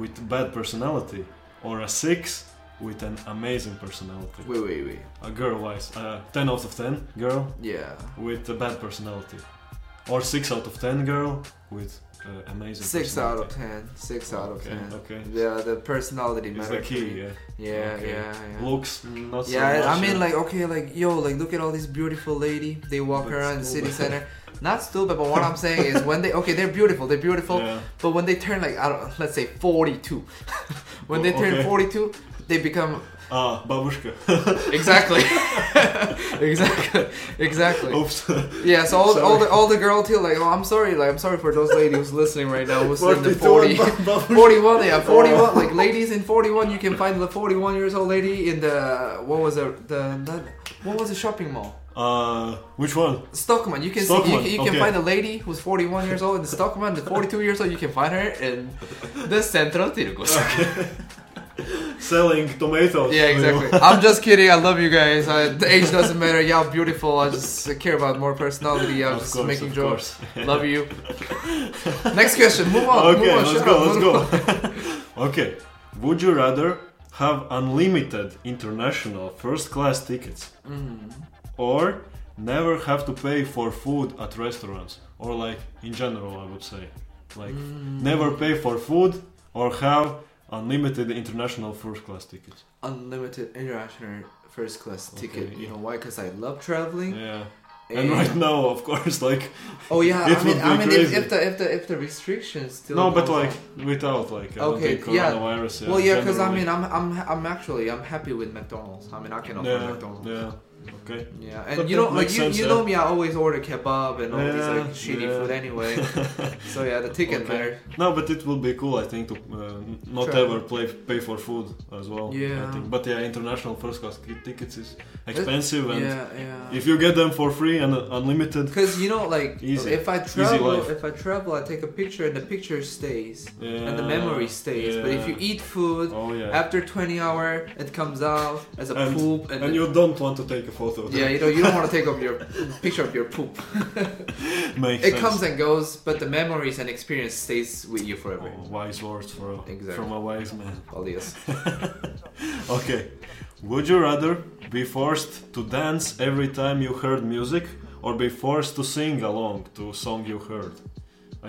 Speaker 2: with bad personality or a 6 with an amazing personality?
Speaker 1: Wait, wait, wait.
Speaker 2: A girl wise, uh, 10 out of 10 girl
Speaker 1: Yeah.
Speaker 2: with a bad personality. Or 6 out of 10 girl with uh, amazing
Speaker 1: Six out of
Speaker 2: personality.
Speaker 1: ten. Six out of
Speaker 2: Okay,
Speaker 1: ten.
Speaker 2: okay.
Speaker 1: Yeah, the personality
Speaker 2: It's
Speaker 1: matters.
Speaker 2: the key, yeah.
Speaker 1: Yeah,
Speaker 2: Okay.
Speaker 1: yeah, yeah.
Speaker 2: Looks not
Speaker 1: yeah,
Speaker 2: so
Speaker 1: I
Speaker 2: much.
Speaker 1: mean,
Speaker 2: yeah.
Speaker 1: like, okay, like, yo, like, look at all these beautiful lady. They walk
Speaker 2: That's
Speaker 1: around the city
Speaker 2: stupid.
Speaker 1: center. Not stupid, but what I'm saying is when they, okay, they're beautiful, they're beautiful,
Speaker 2: Yeah.
Speaker 1: But when they turn like I don't let's say 42, when they turn
Speaker 2: Okay.
Speaker 1: 42, they become
Speaker 2: Ah, babushka.
Speaker 1: exactly, exactly, exactly.
Speaker 2: Oops.
Speaker 1: Yeah, so all, all
Speaker 2: Oh. Sorry.
Speaker 1: the all the girl till like oh I'm sorry like I'm sorry for those ladies who's listening right now who's in the 40,
Speaker 2: 42 babushka.
Speaker 1: 41 yeah
Speaker 2: Oh.
Speaker 1: 41 like ladies in 41 you can find the 41 years old lady in the what was the the, the what was the shopping mall
Speaker 2: Uh, which one?
Speaker 1: Stockman you can see, you,
Speaker 2: Stockmann,
Speaker 1: can- you can
Speaker 2: okay.
Speaker 1: find a lady who's 41 years old in Stockman the 42 years old you can find her in the Central Circus.
Speaker 2: Selling tomatoes.
Speaker 1: Yeah,
Speaker 2: you know.
Speaker 1: exactly. I'm just kidding. I love you guys. I, the age doesn't matter. Y'all beautiful. I just care about more personality. I'm
Speaker 2: Of
Speaker 1: just
Speaker 2: course,
Speaker 1: making
Speaker 2: of
Speaker 1: jokes.
Speaker 2: course.
Speaker 1: Love you. Next question. Move on.
Speaker 2: okay,
Speaker 1: move on.
Speaker 2: let's
Speaker 1: shut
Speaker 2: go,
Speaker 1: up,
Speaker 2: let's
Speaker 1: move on.
Speaker 2: go. okay, would you rather have unlimited international first class tickets
Speaker 1: Mm.
Speaker 2: or never have to pay for food at restaurants or like in general i would say like
Speaker 1: Mm.
Speaker 2: never pay for food or have unlimited international first class tickets
Speaker 1: Unlimited international first class ticket.
Speaker 2: Okay,
Speaker 1: You
Speaker 2: yeah.
Speaker 1: know why? Because I love traveling.
Speaker 2: yeah
Speaker 1: Eh.
Speaker 2: and right now of course like
Speaker 1: Oh yeah,
Speaker 2: It
Speaker 1: I mean,
Speaker 2: would
Speaker 1: I
Speaker 2: be
Speaker 1: mean, if,
Speaker 2: crazy.
Speaker 1: if the if the if the restrictions still.
Speaker 2: no but
Speaker 1: goes
Speaker 2: like
Speaker 1: on.
Speaker 2: without like i
Speaker 1: Okay,
Speaker 2: don't think
Speaker 1: yeah.
Speaker 2: coronavirus yeah,
Speaker 1: Well, yeah, because I
Speaker 2: generally.
Speaker 1: mean, I'm I'm I'm actually I'm happy with McDonald's. I mean, I can afford McDonald's.
Speaker 2: yeah yeah okay
Speaker 1: Yeah, and
Speaker 2: But
Speaker 1: you
Speaker 2: that
Speaker 1: know, like
Speaker 2: makes
Speaker 1: you,
Speaker 2: sense,
Speaker 1: you
Speaker 2: yeah.
Speaker 1: know me, I always order kebab and all these
Speaker 2: Yeah,
Speaker 1: like shitty
Speaker 2: yeah.
Speaker 1: food anyway. so yeah, the ticket
Speaker 2: Okay.
Speaker 1: matter.
Speaker 2: No, but it will be cool, I think, to uh, n- not
Speaker 1: Sure.
Speaker 2: ever play, pay for food as well.
Speaker 1: Yeah. Eh,
Speaker 2: I think. But yeah, international first class ki- tickets is expensive, and
Speaker 1: Yeah, yeah.
Speaker 2: if you get them for free and uh, unlimited,
Speaker 1: Because you know, like
Speaker 2: Easy.
Speaker 1: if I
Speaker 2: Easy
Speaker 1: travel,
Speaker 2: life.
Speaker 1: if I travel, I take a picture and the picture stays
Speaker 2: yeah,
Speaker 1: and the memory stays. But if you
Speaker 2: yeah.
Speaker 1: eat food
Speaker 2: oh yeah,
Speaker 1: after 20 hour, it comes out as a
Speaker 2: And-
Speaker 1: poop and,
Speaker 2: and you don't want to take a photo,
Speaker 1: yeah, you know, you don't want to take up your picture of your poop.
Speaker 2: makes
Speaker 1: It
Speaker 2: sense.
Speaker 1: comes and goes, but the memories and experience stays with you forever.
Speaker 2: Oh, wise words for,
Speaker 1: Exactly.
Speaker 2: from a wise man.
Speaker 1: Alias.
Speaker 2: Okay. Would you rather be forced to dance every time you heard music or be forced to sing along to a song you heard?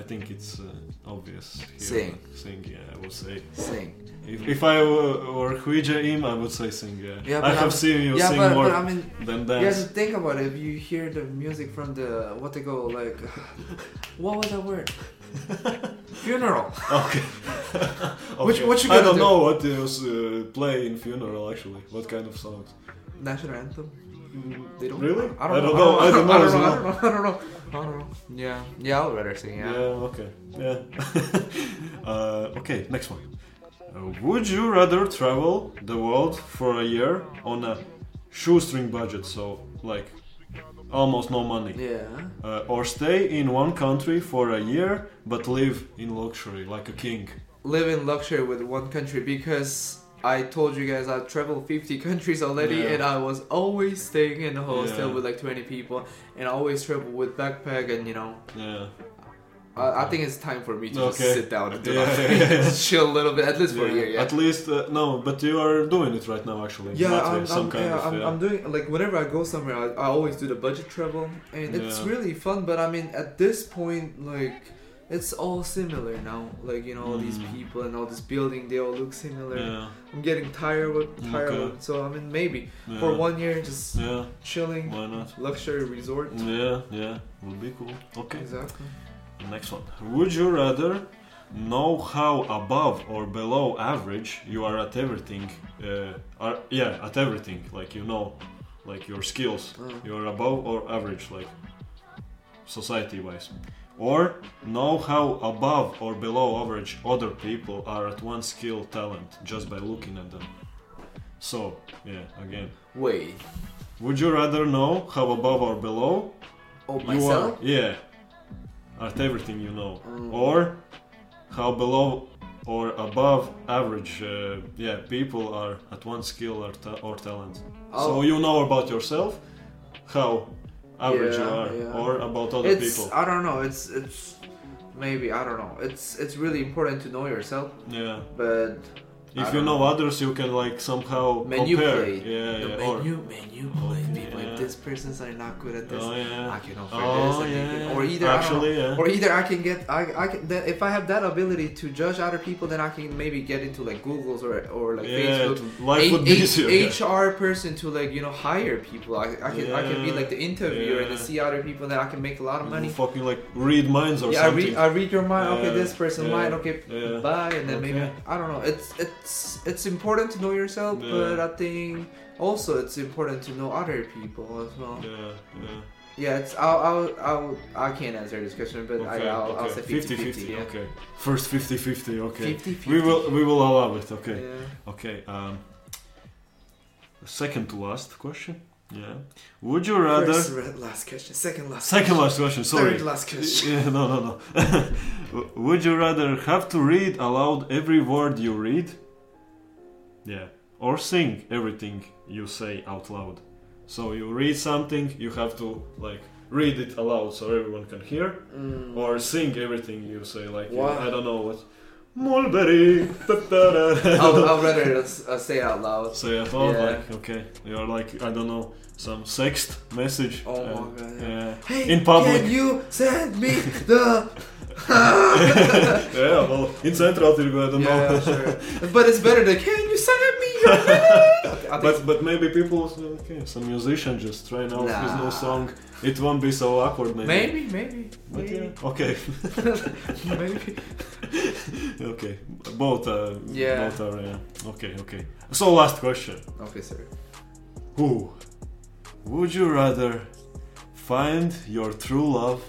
Speaker 2: I think it's uh, obvious. Here.
Speaker 1: Sing.
Speaker 2: Sing, yeah, I would say.
Speaker 1: Sing.
Speaker 2: If, if I were, were Huija Im, I would say sing, yeah.
Speaker 1: Yeah,
Speaker 2: I
Speaker 1: but
Speaker 2: have
Speaker 1: I'm-
Speaker 2: seen you
Speaker 1: yeah,
Speaker 2: sing
Speaker 1: but,
Speaker 2: more
Speaker 1: but I mean,
Speaker 2: than
Speaker 1: you have
Speaker 2: dance.
Speaker 1: to think about it. If you hear the music from the what they go like, what was that word? Funeral.
Speaker 2: Okay.
Speaker 1: What you- what you
Speaker 2: I
Speaker 1: gonna
Speaker 2: don't
Speaker 1: do?
Speaker 2: know what you uh, play in funeral actually. What kind of songs?
Speaker 1: National anthem. They don't.
Speaker 2: really?
Speaker 1: I don't,
Speaker 2: Mm, know. I don't know. as
Speaker 1: I
Speaker 2: well.
Speaker 1: don't know. I don't know. I don't know. I don't know. Yeah. Yeah, I would rather sing.
Speaker 2: Yeah.
Speaker 1: Yeah.
Speaker 2: okay. Yeah. uh, okay, next one. Uh, would you rather travel the world for a year on a shoestring budget, so like almost no money,
Speaker 1: Yeah.
Speaker 2: uh, or stay in one country for a year but live in luxury like a king?
Speaker 1: Live in luxury with one country because I told you guys I've traveled 50 countries already
Speaker 2: Yeah.
Speaker 1: and I was always staying in a hostel
Speaker 2: Yeah.
Speaker 1: with like 20 people and I always travel with backpack and you know
Speaker 2: Yeah.
Speaker 1: I, I think it's time for me to
Speaker 2: Okay.
Speaker 1: just sit down and do
Speaker 2: Yeah.
Speaker 1: nothing. Just chill a little bit, at least for a year. Yeah,
Speaker 2: At least uh, no, but you are doing it right now actually. in
Speaker 1: yeah,
Speaker 2: Latvia,
Speaker 1: I'm,
Speaker 2: some
Speaker 1: I'm,
Speaker 2: kind
Speaker 1: yeah,
Speaker 2: of
Speaker 1: I'm,
Speaker 2: yeah.
Speaker 1: I'm doing like whenever I go somewhere, I, I always do the budget travel, and it's
Speaker 2: Yeah.
Speaker 1: really fun. But I mean, at this point, like it's all similar now. Like you know, all these
Speaker 2: Mm.
Speaker 1: people and all this building, they all look similar.
Speaker 2: yeah,
Speaker 1: I'm getting tired of tired
Speaker 2: Okay.
Speaker 1: of it. So I mean, maybe
Speaker 2: yeah,
Speaker 1: for one year, just
Speaker 2: Uh, Yeah,
Speaker 1: chilling,
Speaker 2: why not?
Speaker 1: luxury resort.
Speaker 2: Yeah, yeah, would be cool. Okay.
Speaker 1: Exactly.
Speaker 2: Next one. Would you rather know how above or below average you are at everything? Uh, are, yeah, at everything. Like you know, like your skills.
Speaker 1: Oh.
Speaker 2: You are above or average, like society-wise. Or know how above or below average other people are at one skill talent just by looking at them. So, yeah, again.
Speaker 1: Wait.
Speaker 2: Would you rather know how above or below
Speaker 1: Oh,
Speaker 2: you are
Speaker 1: myself.
Speaker 2: yeah at everything you know
Speaker 1: Mm.
Speaker 2: or how below or above average uh, yeah people are at one skill or, ta- or talent so
Speaker 1: Oh.
Speaker 2: you know about yourself how average you
Speaker 1: Yeah,
Speaker 2: are
Speaker 1: yeah.
Speaker 2: or about other
Speaker 1: it's uh,
Speaker 2: people
Speaker 1: I don't know. It's it's maybe I don't know. It's it's really important to know yourself,
Speaker 2: yeah
Speaker 1: but
Speaker 2: if
Speaker 1: I
Speaker 2: you
Speaker 1: don't
Speaker 2: know others you can like somehow
Speaker 1: menu
Speaker 2: compare
Speaker 1: play,
Speaker 2: yeah,
Speaker 1: the
Speaker 2: yeah or
Speaker 1: menu menu play
Speaker 2: Okay,
Speaker 1: people.
Speaker 2: yeah.
Speaker 1: If this person's are not good at this,
Speaker 2: oh
Speaker 1: I
Speaker 2: yeah
Speaker 1: can offer
Speaker 2: oh
Speaker 1: this, and
Speaker 2: yeah
Speaker 1: can, or either I don't know,
Speaker 2: actually yeah
Speaker 1: or either I can get I I can that, if I have that ability to judge other people, then I can maybe get into like Google's or or like
Speaker 2: yeah,
Speaker 1: Facebook.
Speaker 2: to- life would be
Speaker 1: H-
Speaker 2: easier. yeah.
Speaker 1: HR person to like you know hire people. I, I can I can be
Speaker 2: Yeah,
Speaker 1: like the interviewer and
Speaker 2: yeah.
Speaker 1: then see other people that I can make a lot of money.
Speaker 2: Fucking like read minds or
Speaker 1: yeah, I
Speaker 2: something.
Speaker 1: read, I read your mind. okay,
Speaker 2: Yeah,
Speaker 1: this person
Speaker 2: yeah,
Speaker 1: mind. Okay,
Speaker 2: yeah.
Speaker 1: bye. And then maybe
Speaker 2: Okay.
Speaker 1: I don't know. It's it's it's important to know yourself,
Speaker 2: Yeah.
Speaker 1: but I think also it's important to know other people as well. Yeah,
Speaker 2: Yeah, yeah.
Speaker 1: it's I'll, I'll, I'll I can't answer this question, but I, I'll, I'll say 50 50.
Speaker 2: 50-50,
Speaker 1: yeah.
Speaker 2: okay. First 50-50, okay.
Speaker 1: 50-50.
Speaker 2: We will we will allow it, okay.
Speaker 1: Yeah.
Speaker 2: Okay. Um second to last question. Yeah. Would you rather
Speaker 1: First, red, last question. Second last.
Speaker 2: second last question, sorry.
Speaker 1: Third last question.
Speaker 2: Yeah, no, no, no. Would you rather have to read aloud every word you read? Yeah. Or sing everything you say out loud. So you read something, you have to like read it aloud so everyone can hear.
Speaker 1: Mm.
Speaker 2: or sing everything you say like you-
Speaker 1: Wow.
Speaker 2: i don't know what Mulberry!
Speaker 1: I'll, I'll rather s- uh, say out loud.
Speaker 2: So yeah, I thought
Speaker 1: Yeah.
Speaker 2: like, okay, you're like, I don't know, some sext message.
Speaker 1: Oh my
Speaker 2: and-
Speaker 1: God, yeah.
Speaker 2: Yeah.
Speaker 1: Hey,
Speaker 2: In public.
Speaker 1: can you send me the?
Speaker 2: yeah, well, in Central Tirgo, I don't know.
Speaker 1: yeah, sure. But it's better than can you send me your? hand?" I think
Speaker 2: But but maybe people will say, okay, some musician just trying out his
Speaker 1: Nah.
Speaker 2: new song. It won't be so awkward maybe.
Speaker 1: Maybe, maybe,
Speaker 2: But
Speaker 1: maybe,
Speaker 2: yeah, okay,
Speaker 1: maybe.
Speaker 2: okay. Both are,
Speaker 1: Yeah.
Speaker 2: both are, yeah. Okay, okay. So last question.
Speaker 1: Okay, sorry.
Speaker 2: Who? Would you rather find your true love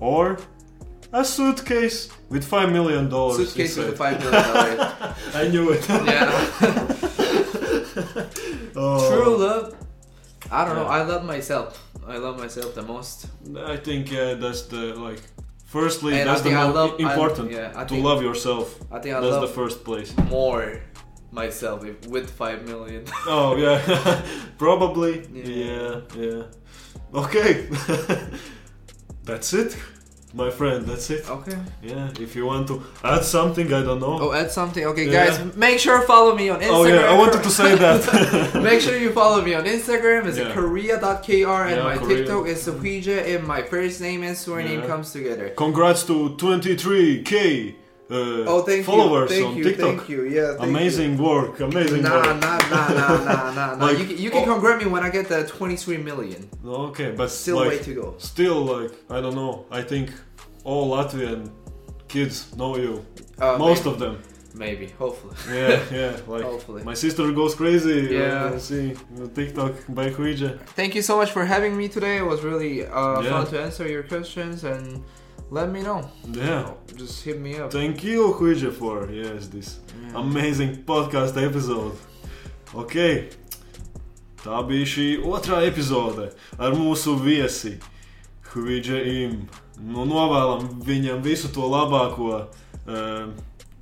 Speaker 2: or a suitcase with five million dollars?
Speaker 1: Suitcase with a
Speaker 2: inside?
Speaker 1: five million dollar.
Speaker 2: I knew it.
Speaker 1: yeah.
Speaker 2: Oh.
Speaker 1: True love. I don't know.
Speaker 2: Yeah.
Speaker 1: I love myself. I love myself the most.
Speaker 2: I think uh, that's the like. Firstly,
Speaker 1: And I
Speaker 2: that's the
Speaker 1: think I
Speaker 2: most
Speaker 1: love- I-
Speaker 2: important
Speaker 1: yeah, I
Speaker 2: to
Speaker 1: think-
Speaker 2: love yourself.
Speaker 1: I think I
Speaker 2: That's the
Speaker 1: love
Speaker 2: first place.
Speaker 1: more myself if, with five million.
Speaker 2: Oh yeah, probably. Yeah,
Speaker 1: Yeah.
Speaker 2: yeah. Okay, that's it, my friend. That's it.
Speaker 1: okay.
Speaker 2: Yeah, if you want to add something, I don't know.
Speaker 1: Oh, add something. Okay,
Speaker 2: Yeah.
Speaker 1: guys, make sure follow me on Instagram.
Speaker 2: Oh, yeah, I wanted to say that.
Speaker 1: make sure you follow me on Instagram. It's
Speaker 2: Yeah.
Speaker 1: korea.kr, and
Speaker 2: Yeah,
Speaker 1: my
Speaker 2: Korea.
Speaker 1: TikTok is Suhija, and my first name and surname
Speaker 2: Yeah.
Speaker 1: comes together.
Speaker 2: Congrats to 23k uh,
Speaker 1: Oh, thank
Speaker 2: followers
Speaker 1: you. Thank
Speaker 2: on
Speaker 1: you.
Speaker 2: TikTok.
Speaker 1: Thank you. Yeah. Thank
Speaker 2: amazing work,
Speaker 1: You.
Speaker 2: amazing
Speaker 1: Nah,
Speaker 2: work.
Speaker 1: nah, nah, nah, nah, nah, nah.
Speaker 2: Like-
Speaker 1: you, can- you can congrat me when I get the 23 million.
Speaker 2: Okay, but
Speaker 1: Still
Speaker 2: like,
Speaker 1: way to go.
Speaker 2: still like I don't know. I think all Latvian kids know you.
Speaker 1: Uh,
Speaker 2: Most of them.
Speaker 1: Maybe, hopefully.
Speaker 2: Yeah, yeah. Like
Speaker 1: Hopefully.
Speaker 2: my sister goes crazy. when
Speaker 1: Yeah.
Speaker 2: I see the TikTok by Huija.
Speaker 1: Thank you so much for having me today. It was really uh,
Speaker 2: Yeah.
Speaker 1: fun to answer your questions and let me know.
Speaker 2: Yeah.
Speaker 1: Just hit me up.
Speaker 2: Thank you, Huija, for yes this
Speaker 1: Yeah.
Speaker 2: amazing podcast epizode. Ok, tā bija šī otrā epizode ar mūsu viesi Huidžiem. Nu, novēlam viņam visu to labāko eh,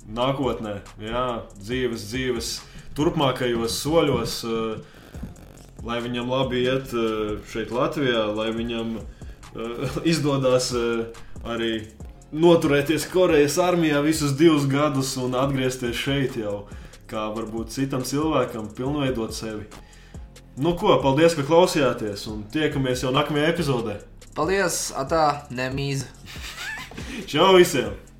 Speaker 2: nākotnē, jā, dzīves, dzīves turpmākajos soļos. eh, Lai viņam labi iet eh, šeit, Latvijā, lai viņam eh, izdodas eh, arī noturēties Korejas armijā visus divus gadus un atgriezties šeit jau, kā varbūt citam cilvēkam, pilnveidot sevi. Nu ko, paldies, ka klausījāties un tiekamies jau nākamajā epizodē.
Speaker 1: Paldies, atā, nemīz.
Speaker 2: Čau visiem!